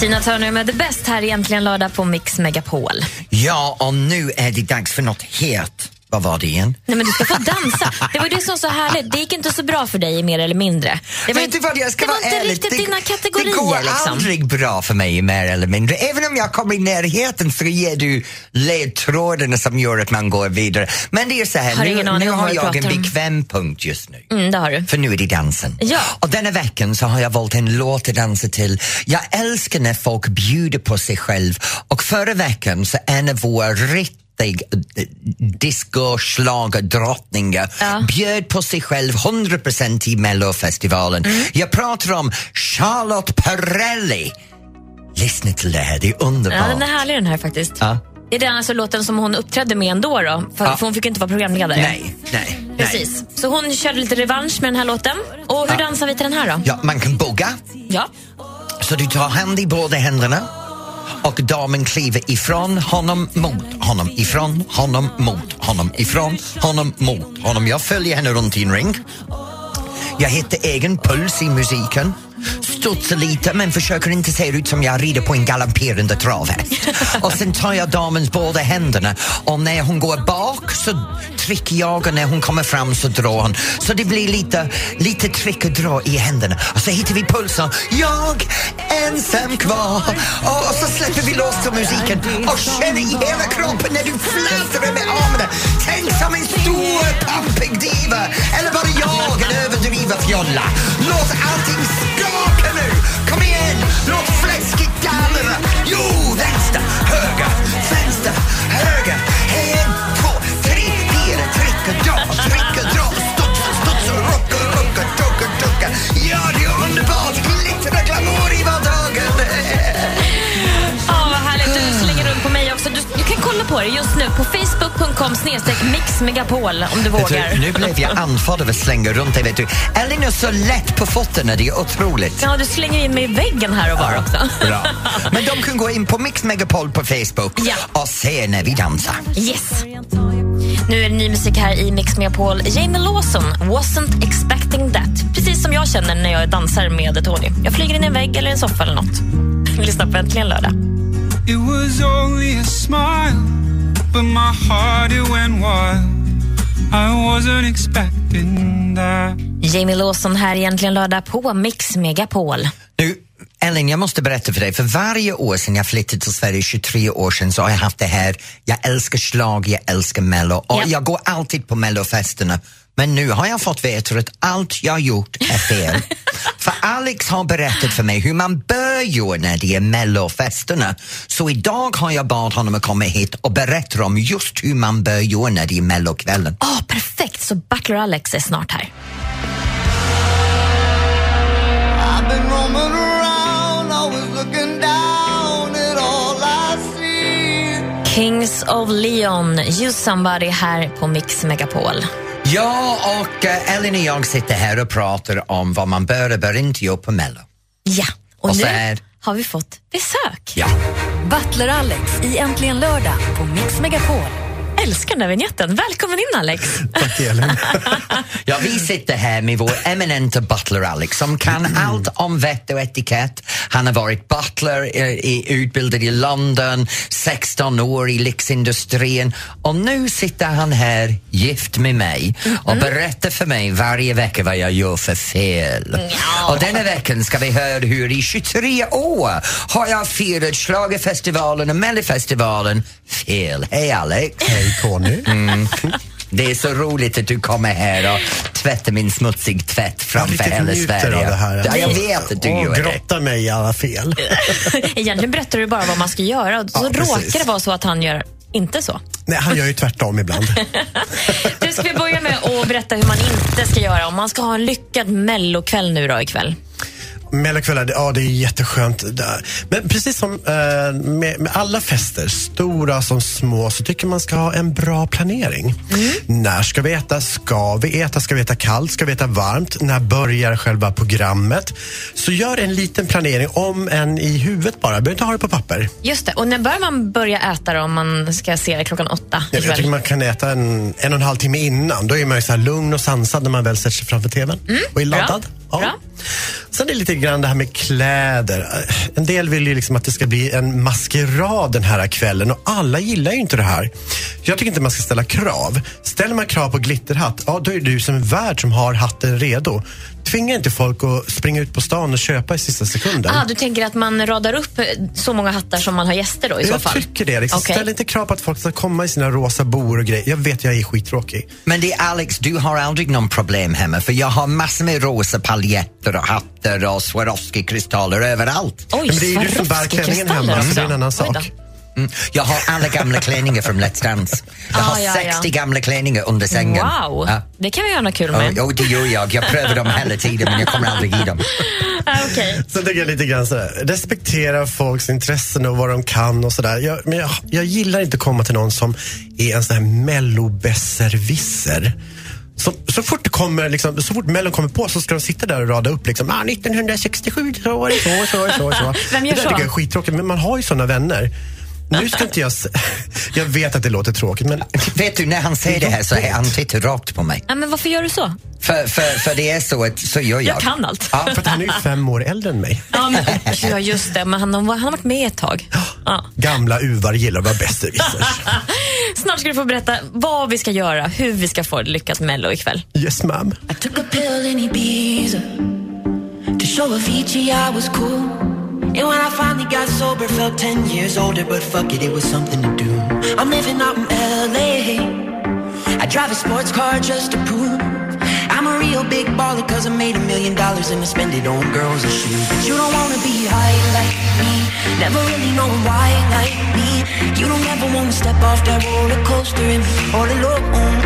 Speaker 2: Tina Turner med The Best här i Äntligen lördag på Mix Megapol.
Speaker 1: Ja, och nu är det dags för något helt. Vad var det igen?
Speaker 2: Nej men du ska få dansa. Det var ju det som var så härligt. Det gick inte så bra för dig mer eller mindre. Det var,
Speaker 1: Vet du vad, jag ska
Speaker 2: det var
Speaker 1: vara
Speaker 2: inte
Speaker 1: ärlig.
Speaker 2: riktigt
Speaker 1: det,
Speaker 2: dina kategorier
Speaker 1: Det går
Speaker 2: liksom.
Speaker 1: aldrig bra för mig mer eller mindre. Även om jag kommer i närheten så ger du ledtrådarna som gör att man går vidare. Men det är så här,
Speaker 2: Har ingen
Speaker 1: nu,
Speaker 2: aning
Speaker 1: nu
Speaker 2: om
Speaker 1: har
Speaker 2: vad du
Speaker 1: jag en
Speaker 2: pratar om.
Speaker 1: bekväm punkt just nu.
Speaker 2: Mm, det har du.
Speaker 1: För nu är det dansen.
Speaker 2: Ja.
Speaker 1: Och denna veckan så har jag valt en låt att dansa till. Jag älskar när folk bjuder på sig själv och förra veckan så en av våra riktig eh, discoslagerdrottningar
Speaker 2: Ja.
Speaker 1: bjöd på sig själv 100% i Mellofestivalen.
Speaker 2: Mm.
Speaker 1: Jag pratar om Charlotte Perrelli. Lyssna till det här, det är underbart.
Speaker 2: Ja, den är härlig den här faktiskt.
Speaker 1: Ja.
Speaker 2: Det är den alltså låten som hon uppträdde med ändå då, för,
Speaker 1: Ja.
Speaker 2: för hon fick ju inte vara programledare.
Speaker 1: Nej, nej, nej.
Speaker 2: Precis. Så hon körde lite revansch med den här låten. Och hur dansar vi till den här då?
Speaker 1: Ja, man kan bugga.
Speaker 2: Ja.
Speaker 1: Så du tar hand i båda händerna och damen kliver ifrån honom, mot honom, ifrån honom, mot honom, ifrån honom, mot honom. Jag följer henne runt i en ring. Jag hittar egen puls i musiken. Studsar lite men försöker inte se ut som jag rider på en galopperande travhäst. Och sen tar jag damens båda händerna och när hon går bak så trycker jag och när hon kommer fram så drar hon. Så det blir lite, lite tryck och dra i händerna. Och så hittar vi pulsen. Jag ensam kvar. Och, och så släpper vi loss till musiken och känner i hela kroppen när du flätar med armarna. Tänk som en stor pampig diva. Eller bara jag, en överdriven fjolla. Låt allting skaka nu. Kom igen, låt fläskgitarrerna. Jo, vänster, höger, vänster, höger. En, två, tre, fyra. Tryck och dra, tryck och dra. Studsa, studsa, rucka, rucka, ducka, ducka. Ja, det är underbart. Glitter och glamour i vardagen.
Speaker 2: Ja, vad härligt. Du slänger runt på mig också. Du, du kan kolla på det just nu på facebook.com snedstreck mixmegapol om du
Speaker 1: Vet du,
Speaker 2: vågar.
Speaker 1: nu blev jag andfådd av att slänga runt dig. Vet du. Elin är så lätt på fötterna, det är otroligt.
Speaker 2: Ja, du slänger in mig i väggen här och var också.
Speaker 1: Bra. Men de kan gå in på Mix Megapol på Facebook
Speaker 2: Ja.
Speaker 1: och se när vi dansar.
Speaker 2: Yes. Nu är det ny musik här i Mix Megapol. Jamie Lawson, Wasn't expecting that. Precis som jag känner när jag dansar med Tony. Jag flyger in i en vägg eller en soffa eller något. Lyssna på Äntligen lördag.
Speaker 5: It was only a smile, but my heart it went wild. I wasn't expecting that.
Speaker 2: Jamie Lawson här i Äntligen lördag på Mix Megapol.
Speaker 1: Nu, Elin, jag måste berätta för dig, för varje år sedan jag flyttade till Sverige 23 år sedan så har jag haft det här, jag älskar slag, jag älskar mello och
Speaker 2: Ja.
Speaker 1: jag går alltid på mellofesterna. Men nu har jag fått veta att allt jag gjort är fel. för Alex har berättat för mig hur man bör göra när det är mellofesterna. Så idag har jag bad honom att komma hit och berätta om just hur man bör göra när det är mellokvällen.
Speaker 2: Åh, perfekt! Så Butler Alex är snart här.
Speaker 10: I've been roaming around, always looking down at all I see.
Speaker 2: Kings of Leon, You somebody här på Mix Megapol.
Speaker 1: Ja, och eh, Elin och jag sitter här och pratar om vad man bör och bör inte göra på mello.
Speaker 2: Ja, och,
Speaker 1: Och så
Speaker 2: nu
Speaker 1: är-
Speaker 2: har vi fått besök.
Speaker 1: Ja.
Speaker 8: Butler-Alex i Äntligen lördag på Mix Megapol.
Speaker 2: Älskar den här vignetten. Välkommen in, Alex.
Speaker 1: Tack Elin. ja, vi sitter här med vår eminenta butler Alex som kan allt om vett och etikett. Han har varit butler, eh, i, utbildad i London, 16 år i lyxindustrin och nu sitter han här gift med mig och berättar för mig varje vecka vad jag gör för fel. Och denna veckan ska vi höra hur i 23 år har jag firat schlagerfestivalen och Melodifestivalen fel. Hej Alex! Hej Tony! Mm. Det är så roligt att du kommer här och tvättar min smutsig tvätt framför
Speaker 11: riktigt
Speaker 1: hela
Speaker 11: njuter
Speaker 1: Sverige.
Speaker 11: av det här.
Speaker 1: Ja, jag vet att du
Speaker 11: och
Speaker 1: gör det.
Speaker 11: grottar mig i alla fel.
Speaker 2: Egentligen berättar du bara vad man ska göra och så råkar det vara så att han gör inte så.
Speaker 11: Nej, han gör ju tvärtom ibland.
Speaker 2: Du ska vi börja med att berätta hur man inte ska göra om man ska ha en lyckad mellokväll nu då ikväll.
Speaker 11: Mellokvällar, det- ja det är jätteskönt. Det- Men precis som eh, med, med alla fester, stora som små, så tycker man ska ha en bra planering. När ska vi äta? Ska vi äta? Ska vi äta kallt? Ska vi äta varmt? När börjar själva programmet? Så gör en liten planering, om en i huvudet bara. Behöver inte ha det på papper.
Speaker 2: Just det, och när bör man börja äta då om man ska se det klockan åtta
Speaker 11: Jag, jag tycker
Speaker 2: ikväll?
Speaker 11: man kan äta en, en och en halv timme innan. Då är man ju så här lugn och sansad när man väl sätter sig framför TVn och är
Speaker 2: bra.
Speaker 11: laddad.
Speaker 2: Bra.
Speaker 11: Sen är det lite grann det här med kläder. En del vill ju liksom att det ska bli en maskerad den här kvällen och alla gillar ju inte det här. Jag tycker inte man ska ställa krav. Ställer man krav på glitterhatt, ja då är du som en värd som har hatten redo. Tvinga inte folk att springa ut på stan och köpa i sista sekunden.
Speaker 2: Ah, du tänker att man radar upp eh, så många hattar som man har gäster då i så
Speaker 11: jag
Speaker 2: fall?
Speaker 11: tycker det. Liksom.
Speaker 2: Okej.
Speaker 11: Ställ inte krav på att folk ska komma i sina rosa boor och grejer. Jag vet, jag är skittråkig.
Speaker 1: Men det är Alex, du har aldrig någon problem hemma för jag har massor med rosa paljetter och hattar och Swarovski-kristaller överallt.
Speaker 2: Oj,
Speaker 11: Men det är ju du som bär klänningen
Speaker 2: Swarovski-kristaller
Speaker 11: hemma, så
Speaker 2: också.
Speaker 11: det är en annan
Speaker 2: Oj då.
Speaker 11: sak.
Speaker 1: Mm. Jag har alla gamla klänningar från Let's Dance. Jag har
Speaker 2: Ah, ja, ja.
Speaker 1: 60 gamla klänningar under sängen.
Speaker 2: Wow,
Speaker 1: Ja.
Speaker 2: det kan vi göra något kul
Speaker 1: Ja,
Speaker 2: med.
Speaker 1: Jo, det gör jag. Jag prövar dem hela tiden men jag kommer aldrig i dem.
Speaker 2: Ah, okej.
Speaker 11: Sen tycker jag lite grann sådär, respektera folks intressen och vad de kan och sådär. Jag, men jag, jag gillar inte att komma till någon som är en sån här mellobesserwisser. Så, så fort det kommer, liksom, så fort mellon kommer på så ska de sitta där och rada upp liksom, ah, 1967, så var det så, så, så, så.
Speaker 2: Vem gör
Speaker 11: det där
Speaker 2: så?
Speaker 11: tycker jag är skittråkigt, men man har ju sådana vänner. Nu ska inte jag... s- Jag vet att det låter tråkigt, men
Speaker 1: Vet du, när han säger det här så är han tittar rakt på mig.
Speaker 2: Ah, men varför gör du så?
Speaker 1: För, för, för det är så att så gör jag.
Speaker 2: Jag kan allt.
Speaker 11: ja, för att han är ju fem år äldre än mig.
Speaker 2: Ja, men, ja just det, men han, har- han har varit med ett tag. Ja.
Speaker 11: Gamla uvar gillar att vara besserwissers.
Speaker 2: Snart ska du få berätta vad vi ska göra, hur vi ska få lyckas med Mello ikväll.
Speaker 11: Yes ma'am.
Speaker 9: I took a pill in Ibiza to show Avicii I was cool. And when I finally got sober, felt 10 years older, but fuck it, it was something to do. I'm living out in LA. I drive a sports car just to prove I'm a real big baller, cause I made a million dollars and I spend it on girls and shoes. But you don't wanna be high like me, never really know why like me. You don't ever wanna step off that roller coaster and be all alone.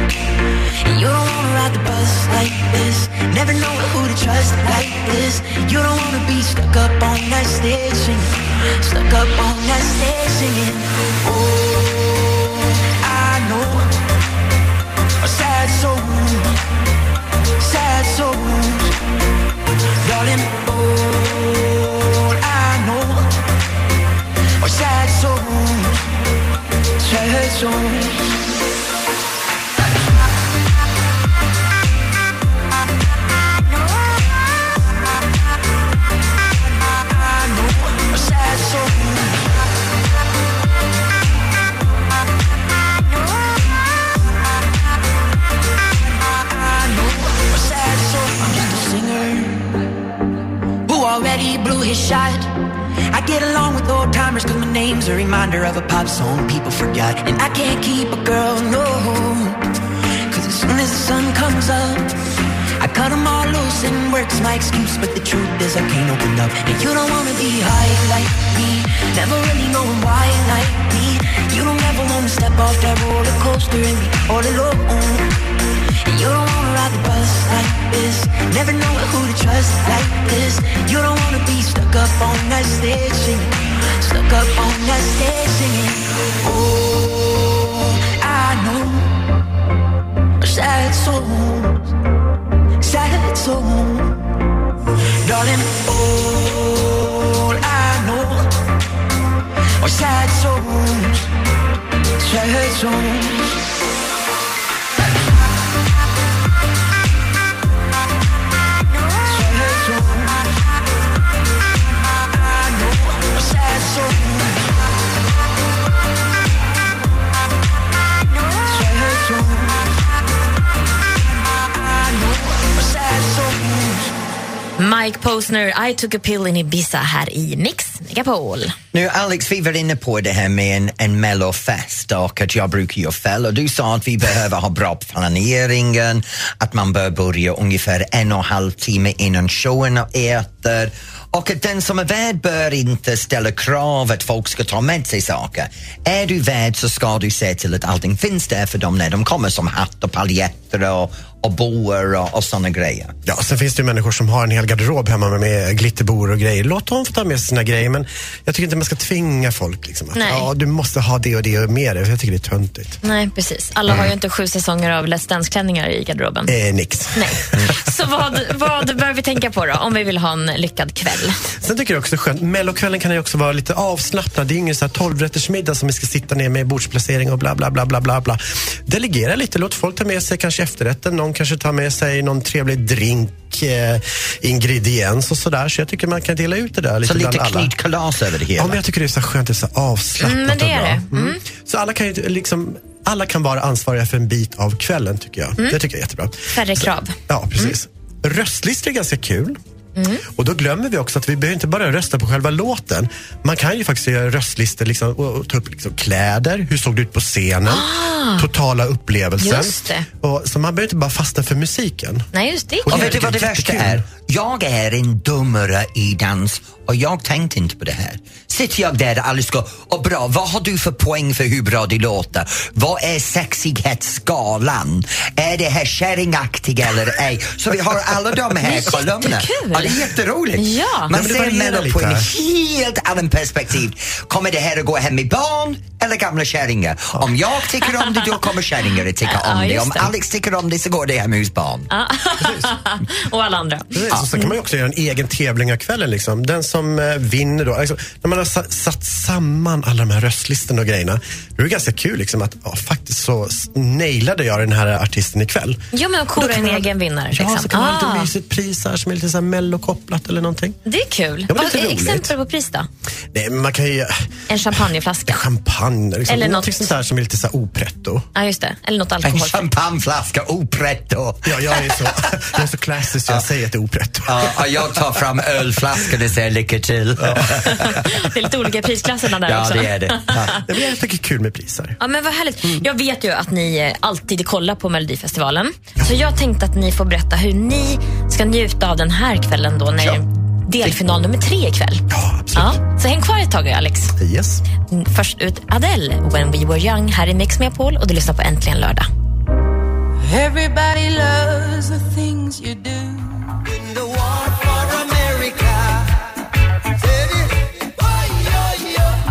Speaker 9: You don't wanna ride the bus like this. Never know who to trust like this. You don't wanna be stuck up on that stage singing. Stuck up on that stage singing. Oh, I know a sad soul, sad soul, darling. Oh, I know a sad soul, sad soul. who already blew his shot. I get along with old timers cause my name's a reminder of a pop song people forgot. And I can't keep a girl, no. Cause as soon as the sun comes up, I cut 'em all loose and work's my excuse. But the truth is I can't open up. And you don't wanna be high like me. Never really knowing why like me. You don't ever wanna step off that roller coaster and be all alone. And you don't wanna ride the bus like this. Never know who to trust like this. You don't wanna be stuck up on that stage singing. Stuck up on that stage singing. Oh, I know. Sad songs, sad songs. Darling, all I know are sad its own.
Speaker 2: Mike Posner, I took a pill in Ibiza här i Mix Megapol.
Speaker 1: Nu Alex, vi var inne på det här med en, en mellofest och att jag brukar göra fel och du sa att vi behöver ha bra planeringen, att man bör börja ungefär en och en halv timme innan showen och äter och att den som är värd bör inte ställa krav att folk ska ta med sig saker. Är du värd så ska du se till att allting finns där för dem när de kommer som hatt och paljetter och, och boer och, och såna grejer.
Speaker 11: Ja, sen finns det ju människor som har en hel garderob hemma med, med glitterbor och grejer. Låt dem få ta med sig sina grejer, men jag tycker inte man ska tvinga folk. Liksom, att,
Speaker 2: Nej.
Speaker 11: ja, du måste ha det och det med dig. Jag tycker det är töntigt. Mm.
Speaker 2: Nej, precis. Alla har ju inte sju säsonger av Let's Dance-klänningar i garderoben.
Speaker 11: Eh, nix.
Speaker 2: Nej. Så vad, vad bör vi tänka på då, om vi vill ha en lyckad kväll?
Speaker 11: Sen tycker jag också det är skönt, mellokvällen kan ju också vara lite avslappnad. Det är ju ingen så här 12-rättersmiddag som vi ska sitta ner med bordsplacering och bla bla bla bla bla bla. Delegera lite, låt folk ta med sig kanske efterrätten. Någon kanske tar med sig någon trevlig drink, eh, ingrediens och sådär. Så jag tycker man kan dela ut det där lite
Speaker 1: Så lite
Speaker 11: bland alla.
Speaker 1: knytkalas över det hela.
Speaker 11: Ja, men jag tycker det är så skönt, det är så avslappnat
Speaker 2: Mm, men det
Speaker 11: och
Speaker 2: är
Speaker 11: bra.
Speaker 2: det. Mm.
Speaker 11: Så alla kan ju liksom, alla kan vara ansvariga för en bit av kvällen tycker jag.
Speaker 2: Mm.
Speaker 11: Det tycker jag är jättebra.
Speaker 2: Färre krav.
Speaker 11: Ja, precis. Röstlistor är ganska kul.
Speaker 2: Mm.
Speaker 11: Och då glömmer vi också att vi behöver inte bara rösta på själva låten. Man kan ju faktiskt göra röstlistor liksom, och, och ta upp liksom, kläder, hur såg du ut på scenen,
Speaker 2: Ah.
Speaker 11: totala upplevelsen.
Speaker 2: Just det.
Speaker 11: Och, så man behöver inte bara fastna för musiken.
Speaker 2: Nej, just det. är
Speaker 1: Och
Speaker 2: kul.
Speaker 1: vet du vad det värsta
Speaker 11: Jättekul.
Speaker 1: är? Jag är en dummare i dans och jag tänkte inte på det här. Sitter jag där och alla ska, och bra, vad har du för poäng för hur bra det låter? Vad är sexighetsskalan? Är det här kärringaktig eller ej? Så vi har alla de
Speaker 2: Det
Speaker 1: här
Speaker 2: är
Speaker 1: kolumnerna.
Speaker 2: jättekul.
Speaker 1: Ja, det är jätteroligt.
Speaker 2: Ja.
Speaker 1: Man
Speaker 11: Men det
Speaker 1: ser
Speaker 11: varierar
Speaker 1: människor på en
Speaker 11: lite.
Speaker 1: helt annan perspektiv. Kommer det här att gå hem i barn eller gamla kärringar? Om jag tycker om det, då kommer kärringar att tycka
Speaker 2: Ja,
Speaker 1: om det.
Speaker 2: just
Speaker 1: Om
Speaker 2: det.
Speaker 1: Alex tycker om det så går det hem hos barn.
Speaker 2: Ja. och alla andra.
Speaker 11: Precis, och sen kan man ju också göra en egen tävling av kvällen. Liksom. Den som eh, vinner då. Alltså, när man har sa- satt samman alla de här röstlistorna och grejerna. Det är det ganska kul liksom, att ja, faktiskt så s- nailade jag den här artisten ikväll.
Speaker 2: Jo, men kora en egen vinnare.
Speaker 11: Ja,
Speaker 2: liksom.
Speaker 11: så kan man ha
Speaker 2: Ah,
Speaker 11: lite mysigt pris här som är lite så här mellokopplat eller någonting.
Speaker 2: det är kul.
Speaker 11: Ja, men
Speaker 2: Vad
Speaker 11: lite
Speaker 2: är
Speaker 11: roligt.
Speaker 2: exempel på pris då?
Speaker 11: Nej, men man kan ju...
Speaker 2: En champagneflaska?
Speaker 11: Champagne, liksom.
Speaker 2: Eller
Speaker 11: eller
Speaker 2: något.
Speaker 11: något sånt där som är lite så här opretto.
Speaker 2: Ja, just det. Eller något
Speaker 1: En
Speaker 2: alkoholfritt.
Speaker 1: champagneflaska opretto.
Speaker 11: Ja, jag är så, jag är så klassisk, så jag säger att det är opretto.
Speaker 1: Ja, och jag tar fram ölflaskan och säger lycka till.
Speaker 2: Det är lite olika prisklasserna där
Speaker 1: Ja,
Speaker 2: också.
Speaker 1: det är det. Ja.
Speaker 11: Nej, men Jag tycker det är kul med priser.
Speaker 2: Ja, men vad härligt.
Speaker 11: Mm.
Speaker 2: Jag vet ju att ni eh, alltid kollar på Melodifestivalen. Så jag tänkte att ni får berätta hur ni ska njuta av den här kvällen då när
Speaker 11: Ja.
Speaker 2: delfinal nummer tre ikväll.
Speaker 11: Ja, absolut.
Speaker 2: Ja, så häng kvar ett tag Alex.
Speaker 11: Yes.
Speaker 2: Mm, Först ut Adele, When We Were Young här i Mix Megapol och du lyssnar på Äntligen Lördag.
Speaker 9: Everybody loves the things you do.
Speaker 10: The war for America. Baby.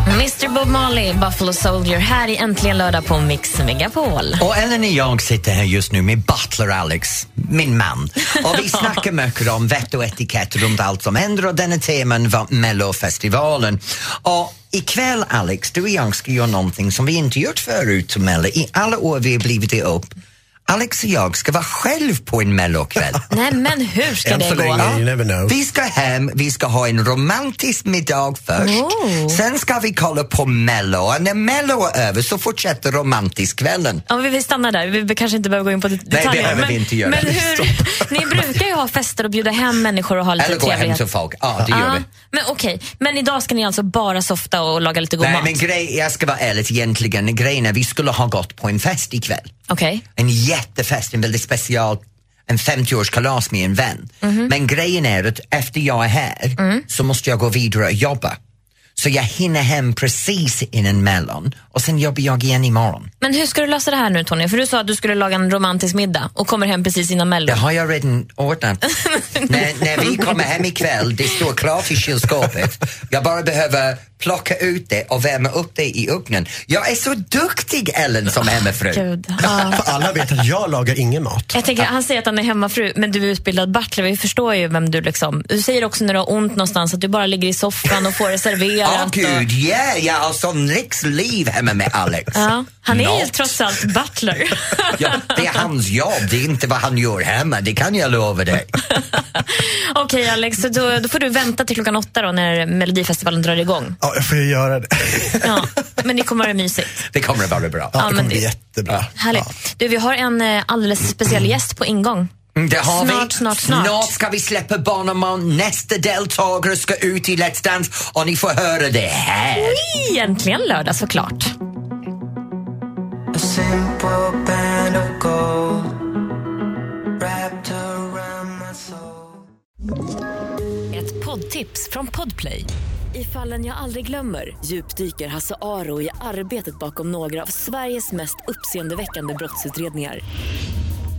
Speaker 2: Mr Bob Marley, Buffalo Soldier här i Äntligen Lördag på Mix Megapol.
Speaker 1: Och Ellen och jag sitter här just nu med Butler Alex, min man. Och vi snackar mycket om vett och etikett runt allt som händer och denna teman var Mellofestivalen. Och ikväll Alex, du och jag ska göra någonting som vi inte gjort förut som Mello. I alla år vi har blivit det upp. Alex och jag ska vara själv på en mellokväll.
Speaker 2: Nej men hur ska
Speaker 11: Än
Speaker 2: det
Speaker 11: så
Speaker 2: gå?
Speaker 11: länge, you never know.
Speaker 1: Vi ska hem, vi ska ha en romantisk middag först.
Speaker 2: Oh.
Speaker 1: Sen ska vi kolla på Mello och när Mello är över så fortsätter romantiskkvällen.
Speaker 2: Ja, vi, vi stannar där, vi kanske inte behöver gå in på det- detaljer.
Speaker 1: behöver
Speaker 2: men,
Speaker 1: vi inte göra.
Speaker 2: Men hur, ni brukar ju ha fester och bjuda hem människor och ha lite
Speaker 1: Eller gå hem
Speaker 2: trevlighet.
Speaker 1: till folk. Ja, det gör
Speaker 2: Ah,
Speaker 1: vi.
Speaker 2: Men okej, men idag ska ni alltså bara softa och laga lite god
Speaker 1: Nej,
Speaker 2: mat?
Speaker 1: men grej, jag ska vara ärlig egentligen. Grejen är vi skulle ha gått på en fest ikväll.
Speaker 2: Okej.
Speaker 1: En jättefest, en väldigt special, en 50-årskalas med en vän.
Speaker 2: Mhm.
Speaker 1: Men grejen är att efter jag är här
Speaker 2: Mm.
Speaker 1: så måste jag gå vidare och jobba. Så jag hinner hem precis innan mellan och sen jobbar jag igen imorgon.
Speaker 2: Men hur ska du lösa det här nu Tony? För du sa att du skulle laga en romantisk middag och kommer hem precis innan mello.
Speaker 1: Det har jag redan ordnat. när, när vi kommer hem ikväll, det står klart i kylskåpet. Jag bara behöver plocka ut det och värma upp det i ugnen. Jag är så duktig Ellen som hemmafru.
Speaker 2: Gud. Ah. ja.
Speaker 11: För alla vet att jag lagar ingen mat.
Speaker 2: Jag tänker, han säger att han är hemmafru, men du är utbildad butler. Vi förstår ju vem du liksom... Du säger också när du har ont någonstans att du bara ligger i soffan och får det
Speaker 1: Ja,
Speaker 2: överallt. och-
Speaker 1: gud, yeah, jag har sån riksliv hemma med Alex.
Speaker 2: Ja, han är ju
Speaker 1: Något.
Speaker 2: trots allt butler.
Speaker 1: Ja, det är hans jobb, det är inte vad han gör hemma, det kan jag lova dig.
Speaker 2: Okej Alex, då, då får du vänta till klockan åtta då när Melodifestivalen drar igång.
Speaker 11: Ja, jag får ju göra det.
Speaker 2: Ja, men det kommer vara mysigt.
Speaker 1: Det kommer att vara bra.
Speaker 11: Ja,
Speaker 2: Ja,
Speaker 11: det
Speaker 2: men
Speaker 11: kommer bli
Speaker 2: det-
Speaker 11: jättebra.
Speaker 2: Härligt. Du, vi har en eh, alldeles speciell gäst på ingång.
Speaker 1: Mm, Det har
Speaker 2: snart,
Speaker 1: vi.
Speaker 2: snart, snart,
Speaker 1: ska vi släppa Bonnemann. Nästa deltagare ska ut i Let's Dance och ni får höra det här.
Speaker 2: Oj, Äntligen lördag såklart.
Speaker 9: A simple band of gold wrapped
Speaker 12: Ett poddtips från Podplay. I fallen jag aldrig glömmer djupdyker Hasse Aro i arbetet bakom några av Sveriges mest uppseendeväckande brottsutredningar.